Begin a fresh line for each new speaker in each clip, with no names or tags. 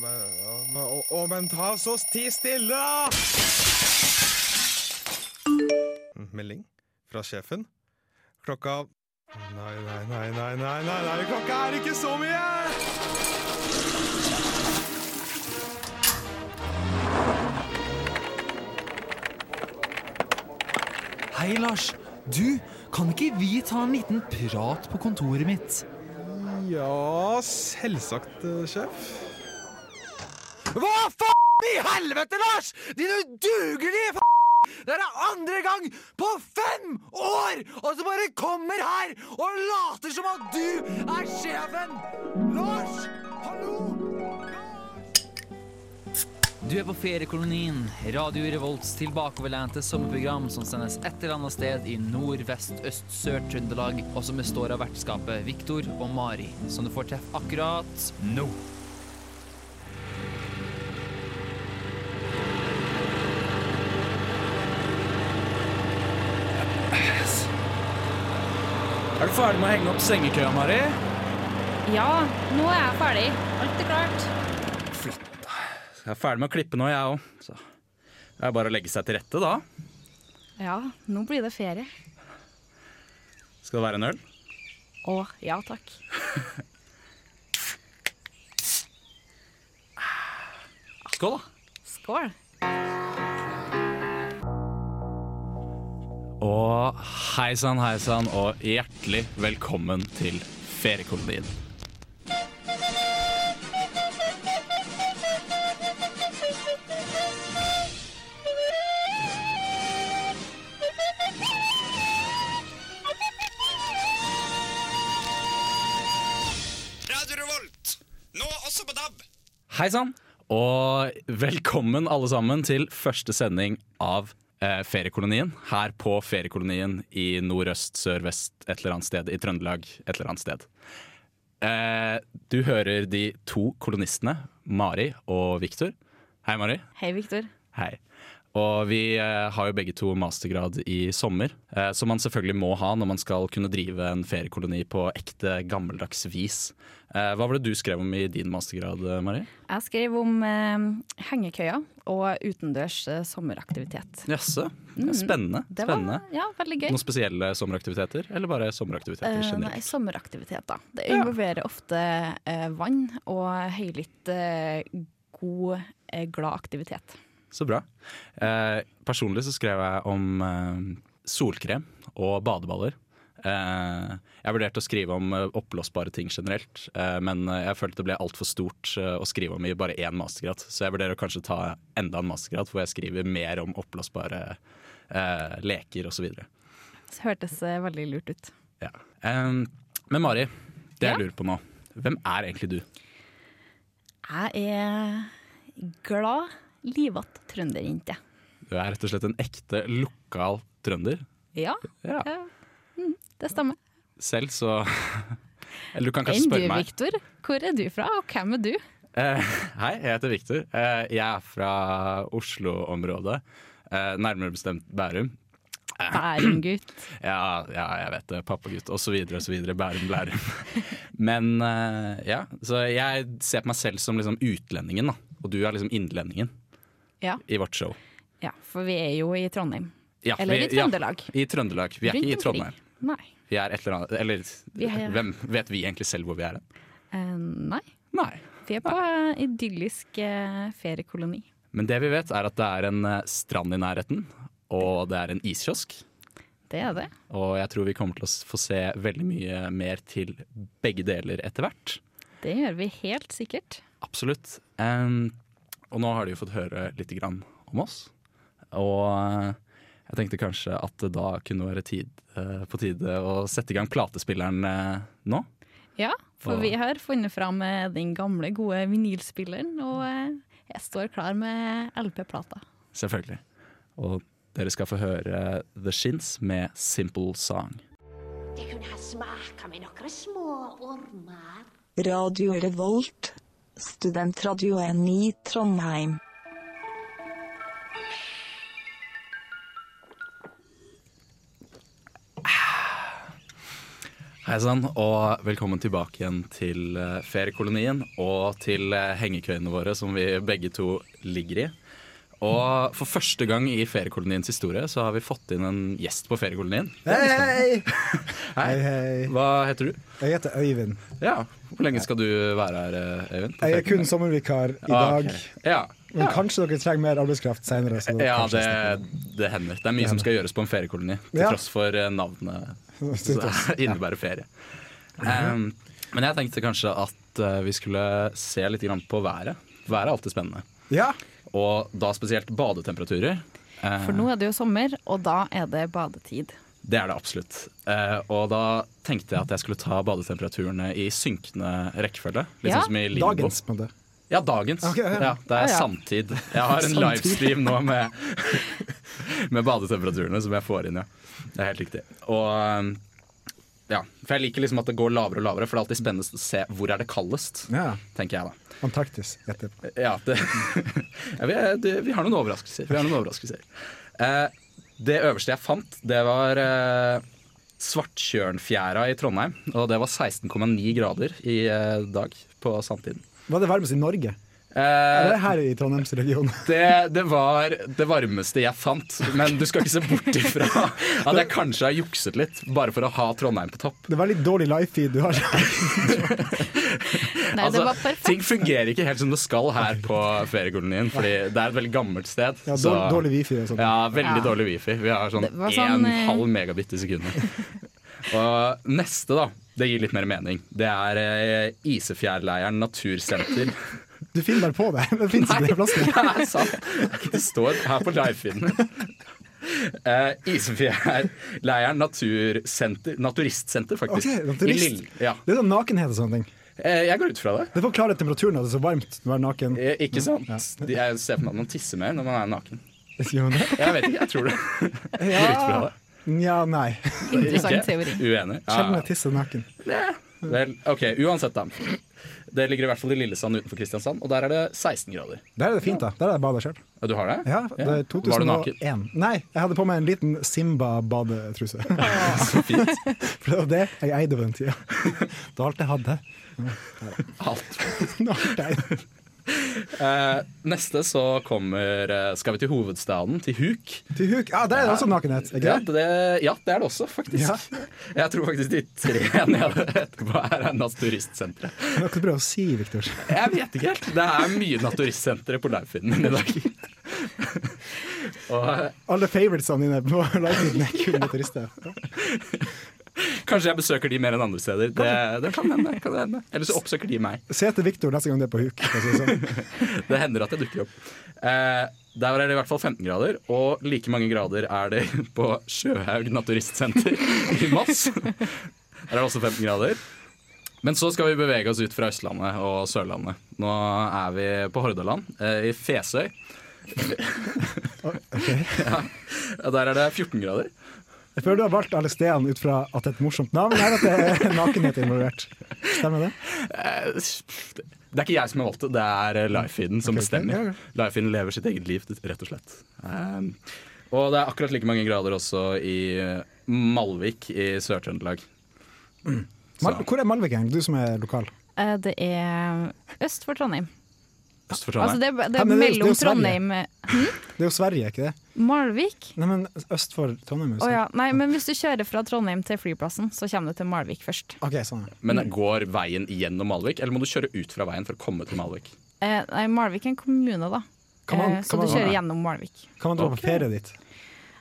men, å, men, å, å, men ta så ti stille! Melding fra sjefen. Klokka Nei, nei, nei, nei, nei, nei, nei. klokka er ikke så mye!
Hei, Lars. Du, kan ikke vi ta en liten prat på kontoret mitt?
Ja, selvsagt, eh, sjef.
Hva faen i helvete, Lars?! Din udugelige faen! Det er andre gang på fem år, og så bare kommer her og later som at du er sjefen! Lars! Hallo! Du er på Feriekolonien, Radio Revolts tilbakeoverlente sommerprogram som sendes et eller annet sted i nord, vest, øst, sør Trøndelag, og som består av vertskapet Viktor og Mari, som du får treff akkurat nå.
Er du ferdig med å henge opp sengekøya, Mari?
Ja, nå er jeg ferdig. Alt er klart.
Jeg er ferdig med å klippe nå, jeg òg. Så det er bare å legge seg til rette, da.
Ja, nå blir det ferie.
Skal det være en øl?
Å, ja takk.
Skål, da.
Skål.
Og hei sann, hei sann, og hjertelig velkommen til Feriekolonien.
Radio Revolt, nå også på DAB.
Hei sann, og velkommen alle sammen til første sending av eh, Feriekolonien. Her på Feriekolonien i nordøst, sørvest, et eller annet sted. I Trøndelag, et eller annet sted. Eh, du hører de to kolonistene, Mari og Viktor. Hei, Mari.
Hei, Viktor.
Hei. Og vi eh, har jo begge to mastergrad i sommer, eh, som man selvfølgelig må ha når man skal kunne drive en feriekoloni på ekte gammeldags vis. Eh, hva var det du skrev om i din mastergrad, eh, Mari?
Jeg skrev om eh, hengekøya og utendørs eh, sommeraktivitet.
Jaså. Spennende.
Mm, Det
spennende.
var ja, veldig gøy.
Noen spesielle sommeraktiviteter, eller bare sommeraktiviteter
Eh,
generelt?
nei, sommeraktivitet, da. Det involverer ofte eh, vann og høylytt, eh, god, eh, glad aktivitet.
Så bra. Eh, personlig så skrev jeg om eh, solkrem og badeballer. Eh, jeg vurderte å skrive om eh, oppblåsbare ting generelt, eh, men eh, jeg følte det ble altfor stort eh, å skrive om i bare én mastergrad, så jeg vurderer å kanskje ta enda en mastergrad hvor jeg skriver mer om oppblåsbare eh, leker osv.
Så hørtes eh, veldig lurt ut.
Ja. Eh, men Mari, det
Ja.
jeg lurer på nå, hvem er egentlig du?
Jeg er glad, livatt trønderjente.
Du er rett og slett en ekte lokal trønder.
Ja,
Ja.
ja. Mm, det stemmer.
Selv så Eller du kan kanskje
Enn du,
spørre meg.
Viktor. Hvor er du fra, og hvem er du?
Eh, hei, jeg heter Victor. Eh, jeg er fra Oslo-området, eh, nærmere bestemt Bærum.
Bærumgutt.
Ja, ja, jeg vet det, pappagutt og så videre og så videre. Bærum, Blærum. Men eh, ja, så jeg ser på meg selv som liksom utlendingen, da. Og du er liksom innlendingen
Ja.
i vårt show.
ja, for vi er jo i Trondheim.
Ja,
Eller i
vi- ja,
Trøndelag.
I Trøndelag. Vi er ikke i
Rundt omkring.
Trondheim.
Nei.
Vi er et eller annet Eller
Vi er-
hvem vet vi egentlig selv hvor vi er hen?
Eh, nei.
Nei.
Vi er på eh, idyllisk eh, feriekoloni.
Men det vi vet, er at det er en eh, strand i nærheten, og det er en iskiosk.
Det er det.
Og jeg tror vi kommer til å s- få se veldig mye mer til begge deler etter hvert.
Det gjør vi helt sikkert.
Absolutt. Em, og nå har de jo fått høre litt grann om oss. Og eh, jeg tenkte kanskje at det da kunne være tid, eh, på tide å sette i gang platespilleren eh, nå.
Ja, for
Og-
vi har funnet fram eh, den gamle, gode vinylspilleren, og eh, jeg står klar med LP-plata.
Selvfølgelig. Og dere skal få høre The Shins med Simple Song.
Det kunne ha smaka med noen små ormer.
Radio Revolt, studentradioen i Trondheim.
Hei sann, og velkommen tilbake igjen til eh, feriekolonien og til eh, hengekøyene våre, som vi begge to ligger i. Og for første gang i feriekoloniens historie så har vi fått inn en gjest på feriekolonien.
Hei!
Hei.
Hei, hei.
Hva heter du?
Jeg heter Øyvind.
Ja, Hvor lenge skal du være her, eh, Øyvind? på
Jeg er kun
feriekolonien?
sommervikar i
Ah,
dag.
ok. Ja,
Men kanskje dere trenger mer arbeidskraft seinere.
ja det, det hender. Det er mye som skal gjøres på en feriekoloni, til
Ja.
tross for eh, navnet Så det innebærer ferie. Um, men jeg tenkte kanskje at eh, vi skulle se litt grann på været. Været er alltid spennende.
Ja.
Og da spesielt badetemperaturer. Eh,
For nå er det jo sommer, og da er det badetid.
Det er det absolutt. Eh, og da tenkte jeg at jeg skulle ta badetemperaturene i synkende rekkefølge. Litt
Ja.
sånn som i Limbo.
Dagens, på en måte.
Ja, dagens.
Ok, ja.
Ja, det
Ja,
er
ja.
samtid. Jeg har en
Samtid.
livestream nå med, med badetemperaturene som jeg får inn, ja. Det er helt riktig. Og um, ja, For jeg liker liksom at det går lavere og lavere, for det er alltid spennende å se hvor er det kaldest.
Ja.
Tenker jeg da.
Antarktis. heter det.
Ja, det, ja, vi, er, det, vi har noen overraskelser. Vi har noen overraskelser. Eh, det øverste jeg fant, det var eh, Svartkjørnfjæra i Trondheim. Og det var 16,9 grader i eh, dag på samtiden.
Var det varmest i Norge?
Eh,
Eller her i Trondheimsregionen?
det, det var det varmeste jeg fant, men du skal ikke se bort ifra at jeg kanskje har jukset litt, bare for å ha Trondheim på topp.
Det er veldig dårlig live-feed du har.
Nei,
Altså,
det var perfekt.
ting fungerer ikke helt som det skal her på feriekolonien, fordi det er et veldig gammelt sted.
Ja,
så-
dårlig- dårlig wifi og sånt.
Ja, veldig
Ja.
dårlig wifi. Vi har sånn
Det var
1,5
sånn, eh,
halv megabit i sekundet. Og neste, da. Det gir litt mer mening. Det er eh, Isefjærleiren natursenter.
Du finner bare på det. Det fins ikke de plassene.
Det er sant. Det står her på livefeeden. Uh, Isefjærleiren natursenter Naturistsenter, faktisk.
Ok,
I
naturist.
Lill- ja.
Det er sånn nakenhet og sånne ting.
Eh, jeg går ut fra det.
Det forklarer temperaturen at det er så varmt når du er naken.
Eh, ikke sant?
Ja.
De- Jeg ser for meg at man tisser mer når man er naken.
Sier man det?
Jeg vet ikke, jeg tror det. Jeg går ut fra det.
Nja, nei.
Interessant
Ikke?
teori.
Uenig.
Sjelden
Ja.
jeg tisser naken.
Vel, OK, uansett, da. Det ligger i hvert fall i Lillesand utenfor Kristiansand, og der er det 16 grader.
Der er det fint, da. Der har jeg bada sjøl.
Ja, Du har det?
Ja, det er
Var du naken?
2001. Nei, jeg hadde på meg en liten Simba-badetruse.
Så fint.
For det var det jeg eide på den tida. Det var alt jeg hadde.
Alt.
Det var alt jeg eide.
Eh, neste så kommer eh, Skal vi til hovedstaden, til Huk.
Til huk. Ja, der er det også nakenhet. Er
Ja
ikke det?
det, ja, det er det også, faktisk. Jeg tror faktisk de tre nede etterpå er naturistsenteret.
Det er Noe du prøver å si, Viktor.
Jeg vet ikke helt. Det er mye naturistsenteret på livefeeden min i dag. Og eh,
Alle favoritesene dine på livefeeden er kun motorister.
kanskje jeg besøker de mer enn andre steder. Det, det kan hende. kan det hende. Eller så oppsøker de meg.
Se etter Viktor neste gang du er på huk. for å si det sånn.
Det hender at jeg dukker opp. Eh, der er det i hvert fall 15 grader, og like mange grader er det på Sjøhaug naturistsenter i Moss. Der er det også 15 grader. Men så skal vi bevege oss ut fra Østlandet og Sørlandet. Nå er vi på Hordaland, eh, i Fesøy. ja, der er det 14 grader.
Jeg føler du har valgt alle stedene ut fra at det er et morsomt navn, eller at det er nakenhet involvert. Stemmer det?
Det er ikke jeg som har valgt det, det er Lifefeeden som
Ok, ok, ja,
bestemmer.
ja.
Lifefeeden lever sitt eget liv, rett og slett. Um, og det er akkurat like mange grader også i eh, Malvik i Sør-Trøndelag.
Mal Hvor er Malvik, egentlig? du som er lokal?
Eh, Det er øst for Trondheim.
Øst for
Altså
Trondheim.
det, er- det
Ja,
er
men det er jo- det er jo
mellom
Sverige.
Trondheim eh,
Det er jo Sverige, ikke det?
Malvik.
Nei, men øst for Trondheim. er jo
Å ja.
Sverige.
Nei, men hvis du kjører fra Trondheim til flyplassen, så kommer du til Malvik først.
Ok, sånn. ja.
Men går veien gjennom Malvik, eller må du kjøre ut fra veien for å komme til Malvik?
Eh, nei, Malvik er en kommune, da.
Kan man-
eh, så
kan
du
man-
kjører gjennom Malvik.
Kan man dra
Ok.
på ferie dit?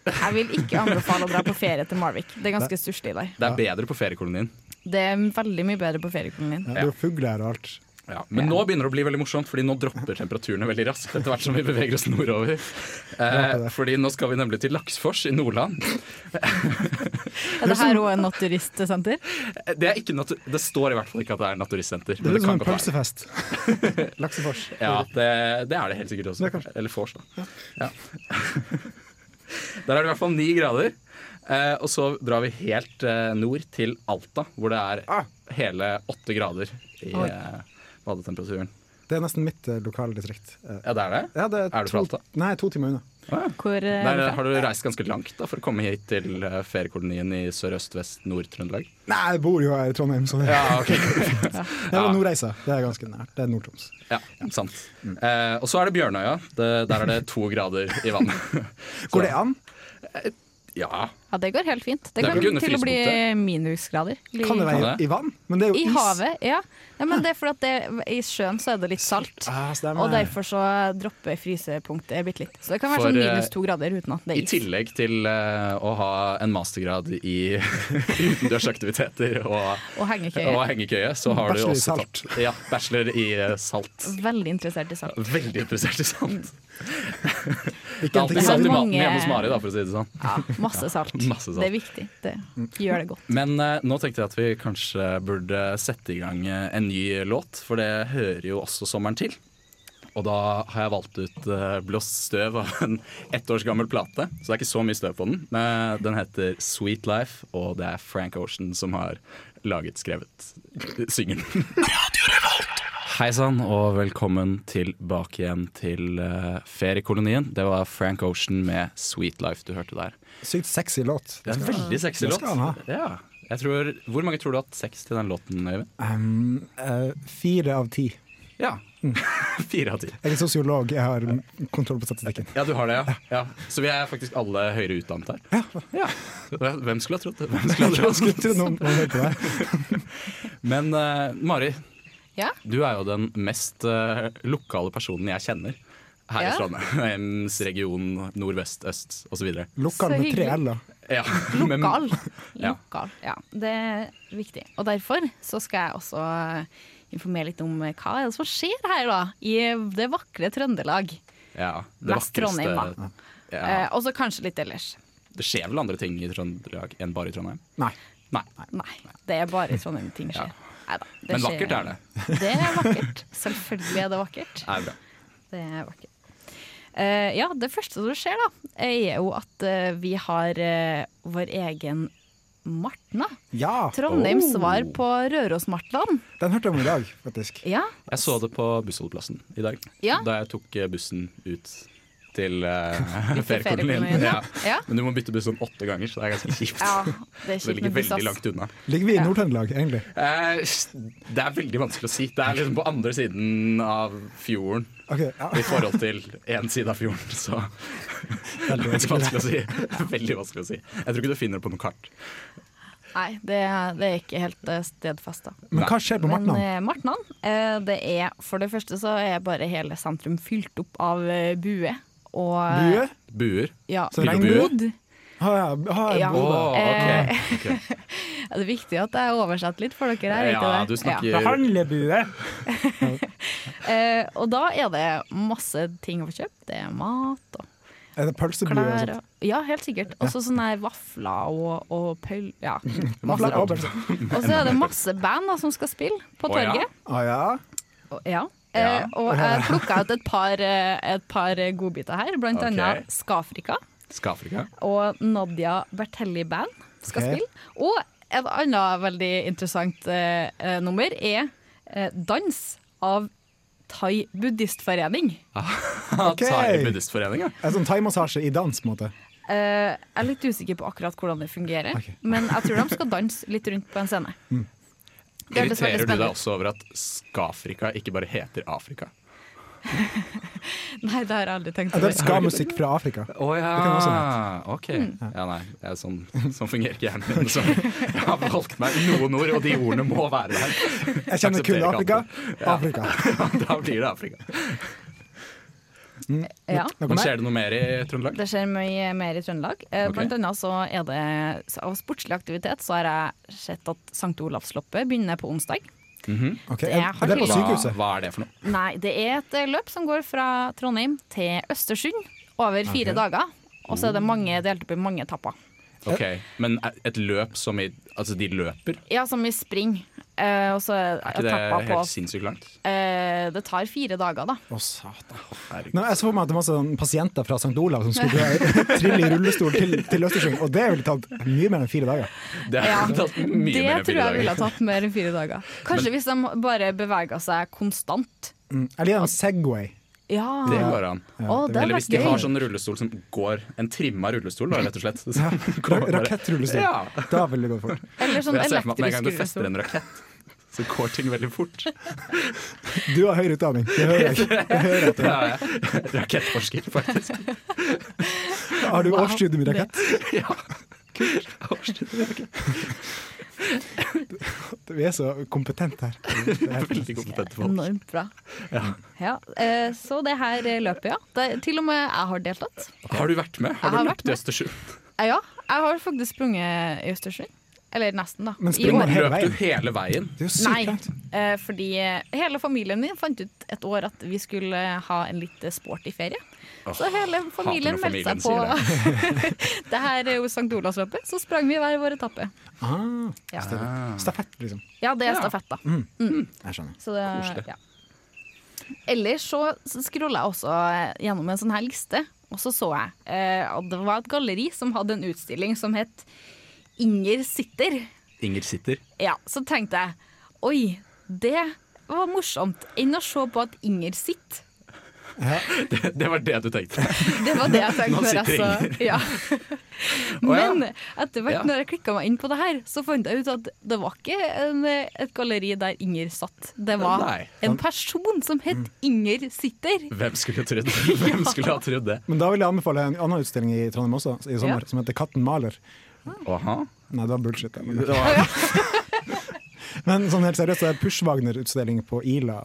Jeg vil ikke anbefale å dra på ferie til Malvik. Det er ganske stusslig der.
Det er bedre på feriekolonien.
Det er veldig mye bedre på feriekolonien.
Ja, det er jo fugler og alt.
Ja, men nå begynner det å bli veldig morsomt, fordi nå dropper temperaturene veldig raskt etter hvert som vi beveger oss nordover. Eh, fordi nå skal vi nemlig til Laksfors i Nordland.
Er det her òg en naturistsenter?
Eh, Det, er ikke natu det står i hvert fall ikke at det er naturistsenter.
Det sånn
men
blir som
kan
en
godt være.
pølsefest. Laksefors.
Ja, det, det er det helt sikkert også.
Det er kanskje-
Eller vors, da. Ja. Der er det i hvert fall ni grader. Eh, og så drar vi helt eh, nord
Ah.
til Alta, hvor det er hele åtte grader i eh, badetemperaturen.
Det er nesten mitt eh, lokaldistrikt. Eh,
Ja, det er det?
Ja, det er,
Er du
to,
fra Alta?
Nei, to timer unna.
Hvor eh,
Der
er du fra?
har du reist ganske langt da, for å komme hit til eh, feriekolonien i sørøst-vest-nord-Trøndelag.
Nei, jeg bor jo her i Trondheim, så det,
Ja, ok.
det er Nordreisa. Det er ganske nært. Det er Nord-Troms.
Ja, sant. Eh, og så er det Bjørnøya. Det, der er det to grader i vannet. Så-
Går det an?
Ja.
Ja, det går helt fint. Det,
Det er vel
kan
under
til å bli
frysepunktet.
minusgrader.
Kan det være
Kan det?
i vann? Men det er jo
I
is.
havet, ja. ja men det er fordi at det, i sjøen så er det litt salt.
Ah, stemmer.
Og derfor så dropper frysepunktet bitte litt. Så det kan være
For,
sånn
eh,
minus to grader uten at det
I
er is.
tillegg til eh, å ha en mastergrad i utendørsaktiviteter og,
Og
og
hengekøye.
hengekøye, så har du
Bachelor i
også
salt.
tatt ja, bachelor i eh, salt.
Veldig interessert i salt.
Veldig interessert i salt. Det er
Ikke en ting
alltid
Det er
salt i maten
mange-
hjemme hos Mari, da, for å si det sånn.
Ja, masse salt.
Masse salt.
Det er viktig. Det gjør det godt.
Men eh, nå tenkte jeg at vi kanskje burde sette i gang eh, en ny låt, for det hører jo også sommeren til. Og da har jeg valgt ut eh, blåst støv av en ett års gammel plate, så det er ikke så mye støv på den. Men eh, den heter Sweet Life, og det er Frank Ocean som har laget, skrevet syngen. Hei sann, og velkommen tilbake igjen til eh, feriekolonien. Det var Frank Ocean med Sweet Life du hørte der.
Sykt sexy låt.
Det er en veldig sexy
det
låt.
skal han ha.
Ja. Jeg tror, hvor mange tror du har hatt sex til den låten, Øyvind?
Um, eh, fire av ti.
Ja. Fire av ti.
Jeg er sosiolog, jeg har kontroll på statistikken.
Ja, du har det, ja. ja. Så vi er faktisk alle høyere utdannet her. Ja. Hvem skulle ha trodd det? Hvem skulle ha trodd det?
Tror du noen noen hører på det?
Men eh, Mari,
Ja,
du er jo den mest eh, lokale personen jeg kjenner her
Ja.
i Trondheims region, nordvest, øst osv.
Lokal
Så
med tre
hyggelig.
l-er.
Ja. men-
lokal.
Mm. Ja.
Lokal, ja. Det er viktig. Og derfor så skal jeg også informere litt om eh, hva er det som skjer her da, i det vakre Trøndelag.
Ja, det
Mest Trondheim, da.
ja.
Eh, og så kanskje litt ellers.
Det skjer vel andre ting i Trøndelag enn bare i Trondheim?
Nei.
Nei.
Nei, det er bare sånne ting skjer. Neida, det
Men
skjer-
vakkert er det.
Det er vakkert. Selvfølgelig er det vakkert.
Det er bra.
Det er vakkert. Eh, ja, det første som skjer, da, er jo at eh, vi har eh, vår egen Martna.
Ja,
Trondheims
Oh.
svar på Røros-Martland.
den hørte jeg om i dag, faktisk.
Ja,
Jeg så det på bussholdeplassen i dag,
Ja.
da jeg tok eh, bussen ut til uh,
feriekolonien,
feriekolonien.
ja.
Ja.
Ja.
Men du må bytte buss sånn åtte ganger, så det er ganske kjipt.
ja det er
Så Det
kjipt
ligger
med buss,
veldig
ass.
langt unna.
Ligger vi i Nord-Trøndelag, egentlig?
Eh, det er veldig vanskelig å si. Det er liksom på andre siden av fjorden
Ok, ja.
i forhold til én side av fjorden, så det er veldig vanskelig å si. Veldig vanskelig å si. Jeg tror ikke du finner det på noe kart.
Nei, det, er- det er ikke helt uh, stedfesta.
Men hva skjer på
Men
Martnan?
eh, Martnan, eh, det er for det første så er bare hele sentrum fylt opp av eh, bue. Og, eh,
Bue?
Buer.
Ja,
Så
regnbue?
Bod.
Har jeg, har jeg
Ja.
Å,
bodd der?
ok.
Ja, Det er viktig at jeg oversetter litt for dere her.
Ja,
ikke
du
det?
snakker
Handlebue.
Ja. Eh, og da er det masse ting å få kjøpt. Det er mat og
Er sånn. det pølsebue? og
klær.
sånt?
Og, ja, helt sikkert. Og så sånne her vafler og, og pøl... Ja.
Vafler og pølse.
Og så er det masse band da, som skal spille på
Å, ja.
torget.
Å Ah, ja.
Og, ja. Eh,
Ja.
og jeg plukka ut et par, eh, et par godbiter her, blant
Ok.
annet Skafrika.
Skafrika.
og Nadia Bertelli Band skal
Ok.
spille. Og et annet veldig interessant eh, eh, nummer er eh, dans av Thai buddhistforening.
Ok. Thai buddhistforening, ja.
En sånn thaimassasje i dans, på en måte.
Eh, jeg er litt usikker på akkurat hvordan det fungerer,
Ok. Mm.
men jeg tror de skal danse litt rundt på en scene. Det hørtes veldig
Irriterer du deg
spennende ut.
også over at Skafrika ikke bare heter Afrika?
Nei, det har jeg aldri tenkt
Ja,
over.
det er ska-musikk fra Afrika.
Å ja.
kan også
OK.
Mm.
Ja, nei, jeg er sånn, sånn fungerer ikke hjernen min. Så jeg har valgt meg noen ord, og de ordene må være der.
Jeg kjenner kun
Aksepterer ikke
Afrika. Afrika.
Da blir det Afrika.
Ja.
Noe
Men
mer?
skjer det noe mer i Trøndelag?
Det skjer mye mer i Trøndelag. Eh,
Ok.
Blant annet så er det så av sportslig aktivitet så har jeg sett at St. Olavsloppet begynner på onsdag.
Ok,
Det
Er
har
er det på
til-
sykehuset?
hva er det for noe?
Nei, det er et eh, løp som går fra Trondheim til Østersund over fire
Ok.
dager. Og så er det mange delt opp i mange etapper.
Ok, Men et løp som i Altså, de løper?
Ja, som i spring. Eh, og så er
Er ikke det
etapper på
helt sinnssykt langt?
eh, Det tar fire dager, da.
Å, satan.
Herregud.
Nå, jeg så for meg at det var masse sånn pasienter fra St. Olav som skulle trille i rullestol til, til Østersund, og det ville tatt mye mer enn fire dager.
Det har
Ja,
tatt mye
det
mer enn
tror
fire
jeg ville
dager.
ha tatt mer enn fire dager. Kanskje hvis de bare bevega seg konstant
Mm. Jeg liker en Segway.
Ja.
Det går an.
Å, det
Eller
hadde
hvis
vært
de har
gøy.
sånn rullestol som går En trimma rullestol, da, rett og slett. Så går man bare-
Rakettrullestol.
Ja.
Da ville det gått fort.
Eller sånn
For jeg ser for meg at med
elektrisk
en gang du fester
rullestol.
en rakett, så går ting veldig fort.
Du har høyere utdanning, det hører jeg. Det hører jeg.
Ja, ja. Rakettforsker, faktisk.
Har du årsstudium i rakett?
Ja. Kult.
Vi er så kompetente her. Det er helt
Veldig kompetent folk.
Enormt bra. Ja, eh, så det her eh, løpet, ja. Det, til og med jeg har deltatt.
Har du vært med? Har du
Jeg har vært
løpt i
med.
Østersund?
Eh, Ja, jeg har faktisk sprunget i Østersund. Eller nesten, da.
Men
I
springer
år.
man hele
Løp du
veien?
hele veien?
Det er jo
Nei,
sykt langt.
eh, fordi hele familien min fant ut et år at vi skulle ha en litt sporty ferie. Så hele familien
hater når
meldte seg på
familien
det her er jo St. Olavsløpet. Så sprang vi hver vår etappe.
Ah,
Ja,
stafett, liksom.
ja det er
Ja. Mm.
stafett, da.
Jeg skjønner.
Så det, ja. Ellers så scrolla jeg også gjennom en sånn her liste, og så så jeg eh, at det var et galleri som hadde en utstilling som het Inger sitter.
Inger sitter.
Ja, så tenkte jeg oi, det var morsomt. Enn å se på at Inger sitter.
Det var det du tenkte.
Det var det jeg tenkte
Nå
før jeg
sitter
så ja.
ja.
Men etter hvert
Ja.
når jeg klikka meg inn på det her, så fant jeg ut at det var ikke en, et galleri der Inger satt. Det var
Nei. Mm.
en person som het Inger sitter.
Hvem skulle trodd Hvem skulle ha trodd det?
Men da vil jeg anbefale en annen utstilling i Trondheim også, i
Ja.
sommer, som heter Katten maler.
Aha.
Nei, det var bullshit. det, Men, men sånn helt seriøst, det er Pushwagner-utstilling på Ila,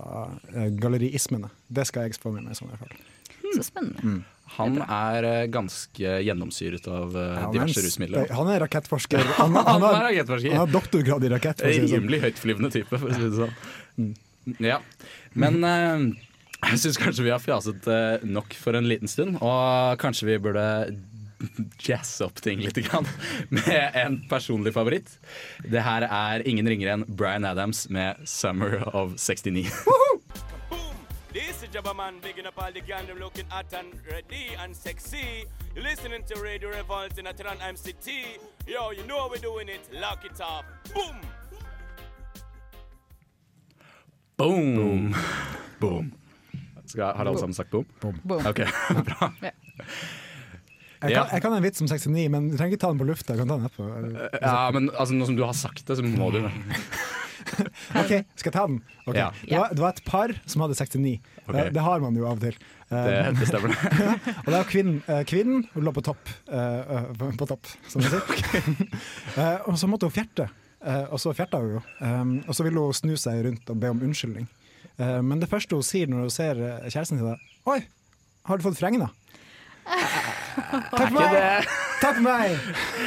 eh, galleriismene. Det skal jeg få med meg. Sånn, i hvert fall.
Mm.
Så spennende.
Han er eh, ganske gjennomsyret av eh,
Ja, men
diverse
s-
rusmidler.
Han er rakettforsker. Han, han,
Han er
har-
rakettforsker.
Han har doktorgrad i rakett. For å si det sånn. Mm.
Rimelig høytflyvende type, for å si det sånn. Ja. Men eh, jeg syns kanskje vi har fjaset eh, nok for en liten stund, og kanskje vi burde jazze opp ting litt grann, med en personlig favoritt. Det her er ingen ringere enn Bryan Adams med 'Summer of 69'.
Boom! This is Jabba Man bigging up all the gandom looking at and ready and sexy. You're listening to Radio Revolt in Atran MCT. Yo, you know how we're doing it. Lock it up. Boom!
Boom! Boom. Skal, har alle sammen sagt boom?
Boom.
Ok, bra.
Jeg,
Ja.
kan, jeg kan en vits om 69, men du trenger ikke ta den på lufta. Jeg kan Mm. ta den etterpå. eller-
Ja, men altså, nå som du har sagt det, så må du
Ok, Skal jeg ta den? Ok.
Ja.
Det, var, det var et par som hadde 69.
Ok.
Eh, Det har man jo av og til. Eh,
Det, det stemmer. det.
Og det var kvinnen. eh, Kvinnen hun lå på topp, eh, eh, på topp som man sier. Eh, og så måtte hun fjerte, eh, og så fjerta hun jo. Um, og så ville hun snu seg rundt og be om unnskyldning. Eh, men det første hun sier når hun ser eh, kjæresten sin, er 'Oi, har du fått fregna?' Takk for meg! Takk for meg!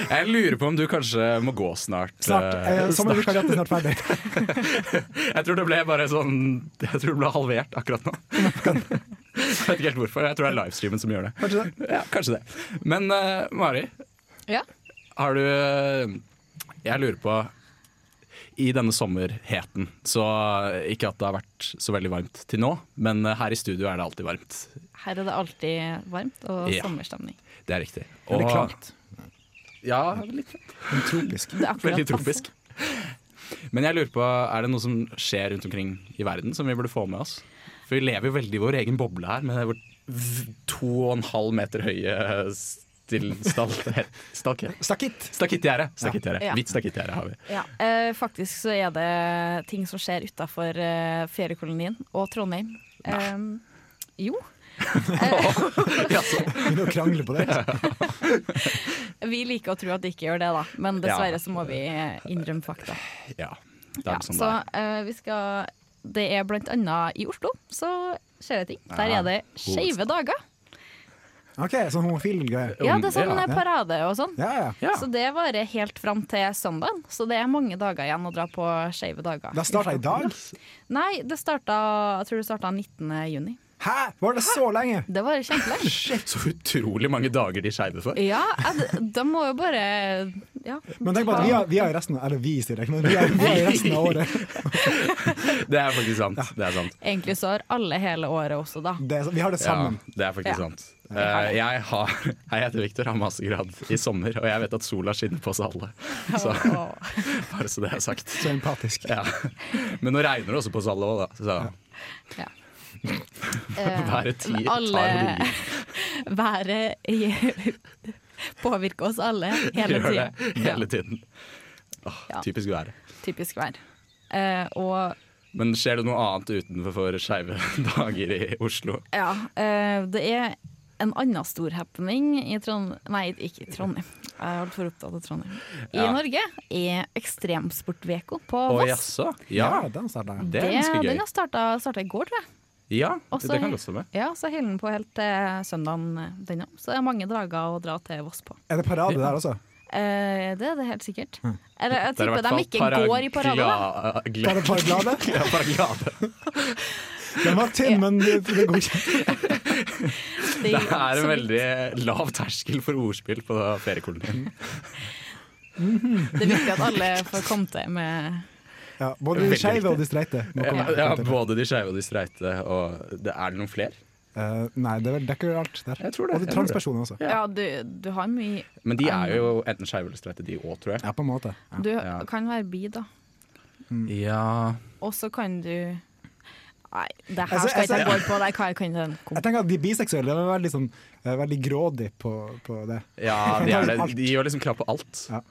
Jeg lurer på om du kanskje må gå snart.
Snart.
eh,
Eh,
snart.
Sommervikariatet er snart ferdig.
Jeg tror det ble bare sånn Jeg tror det ble halvert akkurat nå. Jeg vet ikke helt hvorfor. Jeg tror det er livestreamen som gjør det.
Kanskje det.
Ja, kanskje det. Men eh, Mari,
Ja.
har du eh, Jeg lurer på I denne sommerheten, så eh, ikke at det har vært så veldig varmt til nå, men eh, her i studio er det alltid varmt.
Her er det alltid varmt og
Ja.
sommerstemning.
Det er riktig.
Veldig klamt.
Ja, litt
Tropisk.
Det er akkurat
Veldig
passe.
tropisk. Men jeg lurer på, er det noe som skjer rundt omkring i verden som vi burde få med oss? For vi lever jo veldig i vår egen boble her, med vårt v- to og en halv meter høye stil- stal- stalke-
Stakitt.
Stakittgjerde! Stakittgjerde.
Ja.
Hvitt stakittgjerde har vi.
Ja. Eh, faktisk så er det ting som skjer utafor eh, feriekolonien og Trondheim. Eh, jo.
Begynner å krangle på det.
Vi liker å tro at de ikke gjør det, da. Men
Ja.
dessverre så må vi eh, innrømme fakta.
Ja, det er
Ja,
sånn
så
det er.
eh, vi skal Det er blant annet i Oslo så skjer det ting. Der
Ja,
er det skeive
hovedstad.
dager.
OK, sånn homofil greie.
Ja, det er sånn
Ja.
eh, parade og sånn.
Ja, ja.
Ja.
Så det varer helt fram til søndag. Så det er mange dager igjen å dra på skeive dager.
Det starta i dag?
Nei, det starta, jeg tror det starta 19. juni.
Hæ, var det så lenge?
Det var kjempelenge.
Så utrolig mange dager de skeive for.
Ja, jeg- de må jo bare ja.
Men tenk på at vi har, vi har resten av Eller vi, sier jeg, men vi har, vi har resten av året.
Det er faktisk sant. Det er sant.
Egentlig så har alle hele året også, da.
Det, er så- vi har det sammen.
Ja, det er faktisk
Ja.
sant. Eh, jeg, har, jeg heter Victor, har mastergrad i sommer, og jeg vet at sola skinner på oss alle. Så,
Og-
bare så det er sagt.
Så empatisk.
Ja. Men nå regner det også på oss alle òg, da. Så,
Ja. Eh,
Været ti tar
alle-
liv.
Været i- påvirker oss alle hele
Gjør det
tida.
hele tiden. Åh,
Ja.
Typisk været.
typisk vær. Eh, og
Men skjer det noe annet utenfor skeive dager i Oslo?
ja, eh, det er en annen stor happening i Trondheim Nei, ikke i Trondheim. Jeg er altfor opptatt av Trondheim. I
Ja.
Norge er Ekstremsportveko på
Å
Voss.
jaså?
Ja,
Ja,
den sa jeg.
det er ganske
Den
gøy.
har starta starta i går, tror jeg.
Ja,
Og så
det
he-
kan godt stemme.
Ja, så holder den på helt til søndagen, eh, den òg. Så det er mange dager å dra til Voss på.
Er det parade der også?
Eh, det er det helt sikkert.
Hm.
Eller jeg
Det er i
tipper
hvert
de
fall
ikke går i parade, da.
paragla-
Er det
gle-
paraglade?
Ja, paraglade.
Den var tynn, men det det går ikke.
De-
Det er en
så vidt-
veldig lav terskel for ordspill på feriekolonien.
Det er viktig at alle får komme til med
Ja, både de
Veldig
skeive og de streite. må komme
Ja,
til.
både de skeive og de streite. Og det, er det noen flere?
Eh, nei, det er vel- dekker vel alt der.
Jeg tror det,
Og
jeg tror det.
transpersoner også.
Ja.
Ja, du, du har mye
Men de er jo enten skeive eller streite, de òg, tror jeg.
Ja, på en måte.
Du
Ja.
kan være bi, da.
Ja,
Og så kan du Nei, det her
Altså,
skal ikke
altså-
jeg gå på. Det er hva jeg kan den
Jeg tenker at De biseksuelle de er veldig, sånn, eh, veldig grådig på, på det.
ja de, er det. de gjør liksom krav på alt.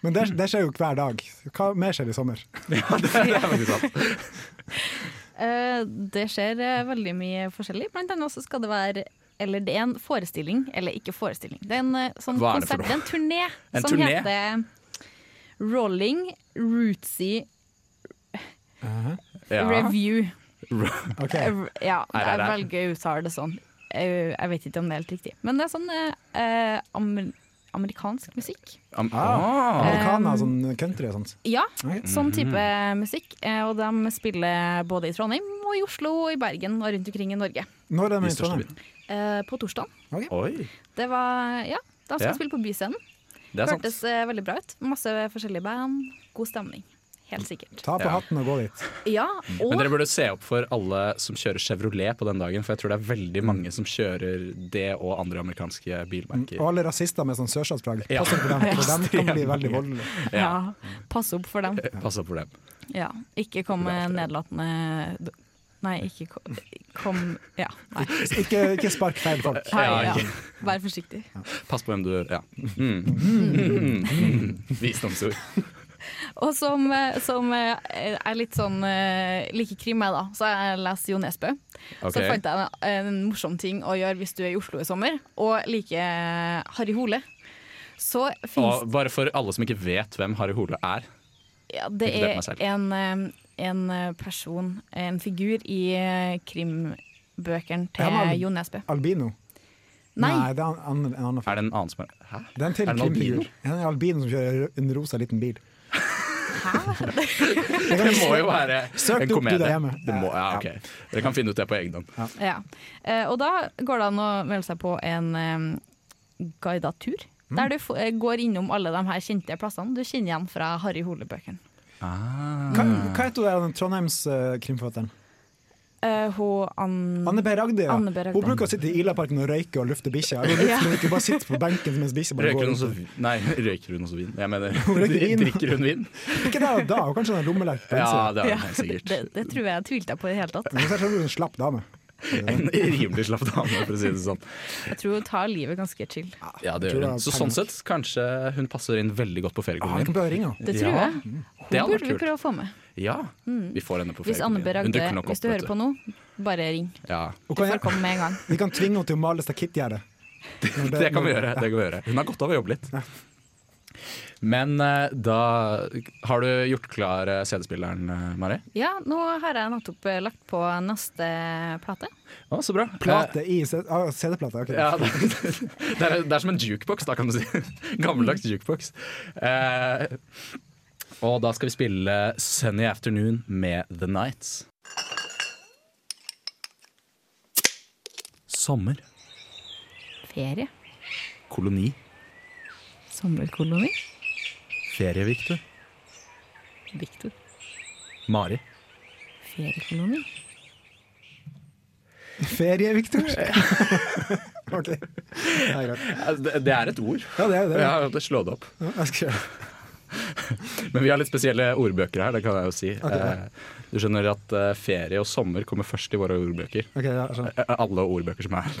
Ja. Men det, det skjer jo hver dag. Hva mer skjer i sommer?
Det er veldig sant.
Eh, det skjer eh, veldig mye forskjellig. Blant annet så skal det være Eller det er en forestilling, eller ikke forestilling. Det er en eh, sånn
Hva er det for
konsert, det er en turné
En
som
turné?
heter Rolling Rootsy
Ja.
Review.
Ok,
Eh, Ja, jeg
RRR.
velger å uttale det sånn. Eh, Jeg vet ikke om det er helt riktig. Men det er sånn eh, eh, amer amerikansk musikk.
Am
ah,
ah.
Amerikaner, sånn country og sånt.
Ja,
Ok.
Mhm.
sånn type musikk. Eh, Og de spiller både i Trondheim og i Oslo og i Bergen og rundt omkring i Norge.
Når er det
De
med i
største
Trondheim?
byene.
Eh, På torsdag.
Oi,
Det var Ja, de skal
Ja.
spille på Byscenen.
det er sant.
Hørtes eh, veldig bra ut. Masse forskjellige band. God stemning. Helt sikkert.
Ta på
Ja.
hatten og gå dit.
Ja, og
Men dere burde se opp for alle som kjører Chevrolet på den dagen, for jeg tror det er
Mm.
veldig mange som kjører det og andre amerikanske bilmerker.
Og alle rasister med sånn sørstatsplagg.
Ja.
Pass opp for dem, for dem kan bli veldig voldelige.
ja, pass opp for dem.
Eh, Pass opp for dem.
Ja, ikke kom med nedlatende Nei, ikke kom, kom Ja, nei.
Ikke, ikke spark feil folk.
Hei,
Ja,
ja.
ikke-
Vær forsiktig.
Pass på hvem du Ja. Mm. Mm. Visdomsord.
Og som, eh, som eh, er litt sånn eh, like krim jeg, da, så jeg leser Jo Nesbø. Så
Ok.
fant jeg en, en morsom ting å gjøre hvis du er i Oslo i sommer, og liker Harry Hole. Så fins
Og bare for alle som ikke vet hvem Harry Hole er.
ja, Det
inkludert meg selv.
er en, eh, en eh, person, en figur, i eh, krimbøkene
Er
til
han al-
Jo Nesbø.
Albino?
Nei,
det er en, en, en
Er
annen film.
det en annen som er Hæ?
Det er en til
er det en albino?
krimfigur. Det er En albino som kjører en rosa liten bil.
hæ?
Det
Det
kan-
må jo være
Søk
en
det opp du
komedie.
der hjemme.
Det må, ja, ok. Dere kan finne ut det på egen hånd.
Ja. Eh, og da går det an å melde seg på en eh, guidet tur.
Mm.
Der du f eh, går innom alle de her kjente plassene du kjenner igjen fra Harry Hole-bøkene.
Hva, hva heter hun der, den Trondheims uh, krimforfatteren?
Eh, hun Ann...
Anne B. Ragde. Ja.
Anne B. Ragde.
Hun bruker å sitte i Ilaparken og røyke og lufte bikkja. Hun lufter
Ja.
ikke, bare sitter på benken mens bikkja bare
Røyker
går
hun
rundt.
også vin? Nei, røyker hun også vin? Jeg mener,
røyker vin.
drikker hun vin?
Ikke der og da, og kanskje en lommelert på
Ja,
innsiden.
det er
Ja,
hun helt
det,
sikkert.
det tror jeg jeg tvilte på i det hele tatt.
Men så er sånn hun en slapp dame.
En rimelig slapp dame, for å si det sånn.
Jeg tror hun tar livet ganske chill.
Ja, det
Tror
gjør
det
hun.
er
Så
penger.
sånn sett, kanskje hun passer inn veldig godt på
Ah, jeg kan
feriekolonien.
prøve å ringe henne.
Det tror
Ja. Mm.
jeg. Hun
Det hadde vært
burde vi
kult.
prøve å få med.
Ja, vi får henne på
Hvis Anne B.
feriekolonien. Hun
Ragde,
dukker nok
hvis
opp.
du
vet
hører på nå, bare ring.
Ja,
Hun
Du
kan-
får komme med en gang.
Vi kan tvinge henne til å male stakittgjerde.
det kan vi gjøre. Det kan vi gjøre. Hun har godt av å jobbe litt. Men eh, da Har du gjort klar eh, CD-spilleren, eh, Mari?
Ja, nå har jeg nettopp eh, lagt på neste plate.
Å, så bra.
Plate i C- ah, CD-plate. ok.
Eh, Ja, det, det, er, det er som en jukebox, da, kan du si. Gammeldags jukebox. Eh, og da skal vi spille Sunny Afternoon med The Nights. Sommer.
Ferie.
Koloni.
Sommerkoloni.
Ferie, Victor.
Viktor.
Mari.
Feriekoloni.
Ferie, Victor. ok. Det er greit.
Det, det er et ord.
Ja, det er jo det.
Ja, det slå det opp.
Ja, jeg skal gjøre det.
Men vi har litt spesielle ordbøker her, det kan jeg jo si. Eh, Du skjønner at eh, ferie og sommer kommer først i våre ordbøker.
Ok, ja, skjønner.
Eh, Alle ordbøker som er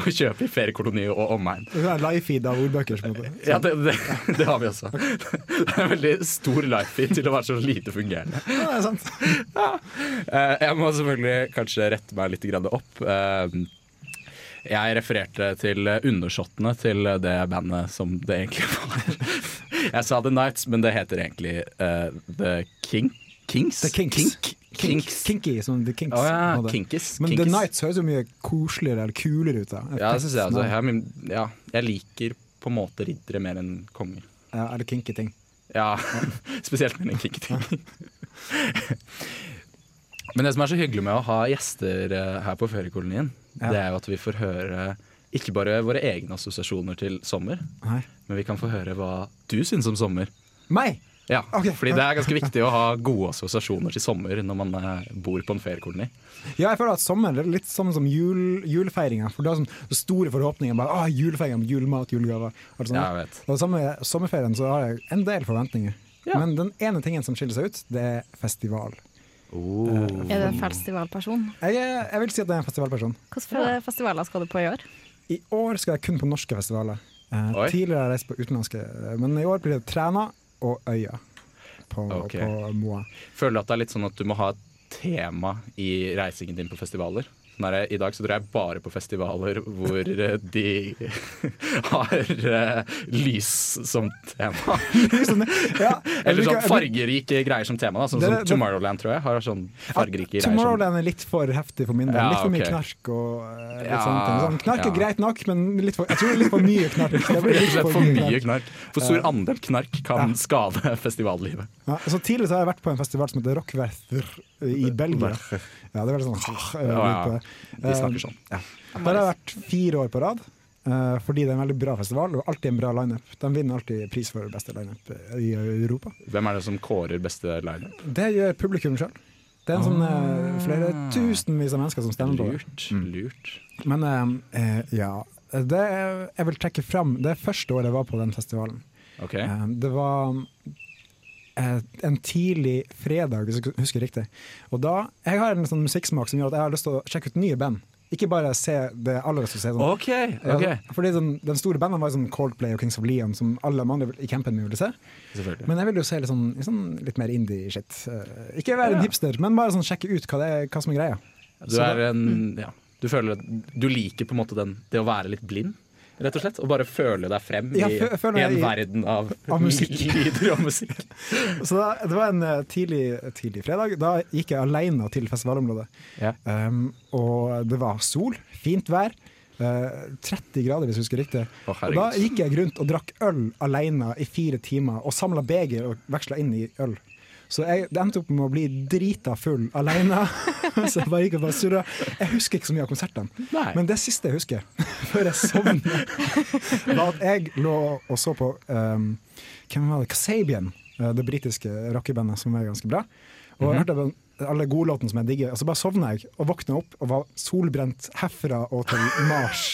å kjøpe i feriekoloni og omegn.
Det er live-feed av ordbøker. Som er på.
Ja, det, det, det har vi også. Det er en veldig stor life-feed til å være så lite fungerende.
Ja, det er sant.
Eh, Jeg må selvfølgelig kanskje rette meg litt grann opp. Eh, Jeg refererte til undersåttene til det bandet som det egentlig var. Jeg sa The Nights, men det heter egentlig eh, The King. Kings?
The Kinks.
Kink? Kinks.
Kinky, som The Kinks.
Å ja,
hadde.
Kinkies.
Men
Kinkies.
The Nights høres jo mye koseligere eller kulere ut. Da.
Ja, det synes jeg. Altså. Jeg, men, ja, jeg liker på en måte riddere mer enn konger.
Ja, er det kinky ting?
Ja, spesielt med den kicketing. Men det som er så hyggelig med å ha gjester eh, her på feriekolonien,
Ja.
det er jo at vi får høre ikke bare våre egne assosiasjoner til sommer,
Nei.
men vi kan få høre hva du syns om sommer.
Meg!
Ja,
Ok.
fordi det er ganske viktig å ha gode assosiasjoner til sommer når man eh, bor på en feriekoloni.
Ja, jeg føler at sommer det er litt sånn som jul, julefeiringa. For det er sånn store forhåpninger. Bare, ah, julefeiring, julmat, julegaver. alt sånt.
Ja, jeg vet.
Og samme, sommerferien så har jeg en del forventninger. Men den ene tingen som skiller seg ut, det er festival.
Er du en festivalperson?
Jeg, er- jeg vil si at jeg er en festivalperson.
Hvilke festivaler skal du på i år?
I år skal jeg kun på norske festivaler. Eh,
Oi.
tidligere har jeg reist på utenlandske, eh, men i år blir det Træna og Øya på,
Ok.
på Moa.
Føler du at det er litt sånn at du må ha et tema i reisingen din på festivaler? Sånn er det, I dag så drar jeg bare på festivaler hvor eh, de har eh, lys som tema.
Ja,
Eller
jeg
sånn
bruker-
fargerike greier som tema, da. Sånn
Det-
som
det-
Tomorrowland, tror jeg. Har sånn fargerike greier som
Tomorrowland er litt for heftig for min del.
Ja,
litt for mye
ok.
knark og eh, litt
Ja,
sånne ting. Sånn, knark
ja.
er greit nok, men litt for, jeg tror det er litt for mye knark. Det blir
Rett og
litt
slett for mye
knark.
knark. For stor andel knark kan skade festivallivet.
Ja, så tidligere så har jeg vært på en festival som heter Rockwerther i Belgia. Ja, det er veldig sånn ah, eh,
Ja,
lyd
ja.
på det. Eh,
De snakker sånn.
Der har jeg vært fire år på rad. eh, fordi det er en veldig bra festival og alltid en bra lineup. De vinner alltid pris for beste lineup eh, i Europa.
Hvem er det som kårer beste lineup?
Det gjør publikum sjøl. Det er en sånn eh, flere tusenvis av mennesker som stemmer på. det.
Lurt.
Mm.
Lurt.
Men eh, eh, ja det, er- Jeg vil trekke fram Det første året jeg var på den festivalen.
OK.
Eh, det var eh, en tidlig fredag, hvis jeg husker riktig. Og da, Jeg har en sånn musikksmak som gjør at jeg har lyst til å sjekke ut nye band. Ikke bare se det aller som ser sånn.
OK. ok
Ja, Fordi den, den store banden var sånn Coldplay og Kings of Leon, som alle de andre i campen min ville se.
Selvfølgelig.
Men jeg ville jo se litt, sånn, litt sånn, litt mer indie-shit. Eh, ikke være en hipster, men bare sånn sjekke ut hva, det er, hva som er greia.
Du er en
mm.
Ja. Du føler at du liker på en måte den, det å være litt blind, rett og slett? Og bare føle deg frem i,
Ja, fø-
i
føler
en
jeg i-
verden av,
av musikk.
lyder og musikk.
Så da, det var en eh, tidlig, tidlig fredag. Da gikk jeg alene til festivalområdet.
Ja.
Um, og det var sol, fint vær. eh, 30 grader, hvis jeg husker riktig.
Å,
og
herregud.
da gikk jeg rundt og drakk øl alene i fire timer, og samla beger og veksla inn i øl. Så jeg, det endte opp med å bli drita full alene. så jeg bare gikk og bare surra. Jeg husker ikke så mye av konsertene,
Nei.
men det siste jeg husker, før jeg sovna, var at jeg lå og så på um, Hvem var det? Kasabian, eh, det britiske rockebandet som er ganske bra. Og jeg hørte den- alle godlåtene som jeg digger. Og så bare sovna jeg og våkna opp og var solbrent herfra og til Mars.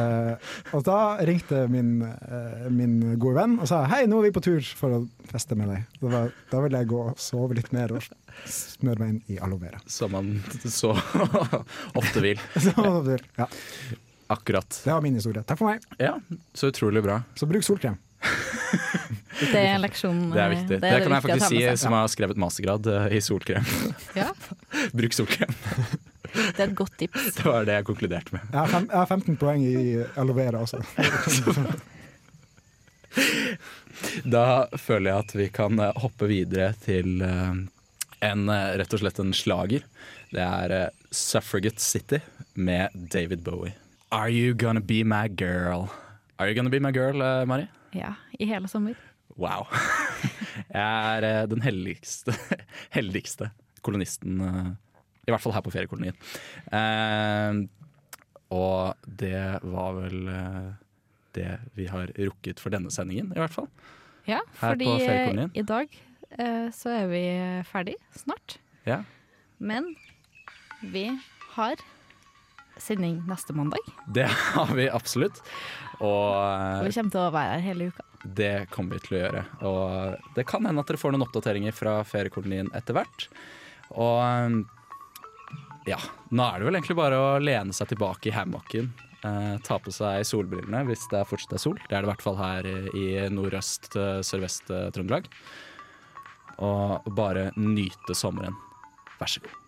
Eh, og da ringte min, eh, min gode venn og sa hei, nå er vi på tur for å feste med deg. Da, var, da vil jeg gå og sove litt mer og smøre meg inn i aloe vera.
Som man så ofte vil.
Så, ja,
Akkurat.
det var min historie. Takk for meg.
Ja, så utrolig bra.
Så bruk solkrem.
Det er eh, leksjonen.
Det er viktig. Det, kan jeg faktisk si som har skrevet mastergrad eh, i solkrem.
Ja,
Bruk solkrem.
det er et godt tips.
Det var det jeg konkluderte med.
Jeg har, fem, jeg har 15 poeng i aloe vera også.
Da føler jeg at vi kan eh, hoppe videre til eh, en, eh, rett og slett en slager. Det er eh, Suffragette City med David Bowie. Are you gonna be my girl? Are you gonna be my girl, eh, Mari?
Ja, I hele sommer.
Wow. Jeg er eh, den heldigste, heldigste kolonisten, eh, i hvert fall her på feriekolonien. Eh, og det var vel eh, det vi har rukket for denne sendingen, i hvert fall.
Ja,
Her på
fordi eh,
feriekolonien.
i dag eh, så er vi ferdig snart.
Ja.
Men vi har sending neste mandag.
Det har vi absolutt. Og
Og vi
eh,
kommer til å være her hele uka.
Det kommer vi til å gjøre. Og eh, det kan hende at dere får noen oppdateringer fra feriekolonien etter hvert. Og um, ja, nå er det vel egentlig bare å lene seg tilbake i hammocken. eh, ta på seg solbrillene hvis det er fortsatt er sol. Det er det i hvert fall her i nordøst, eh, sørvest eh, Trøndelag. Og bare nyte sommeren. Vær så god.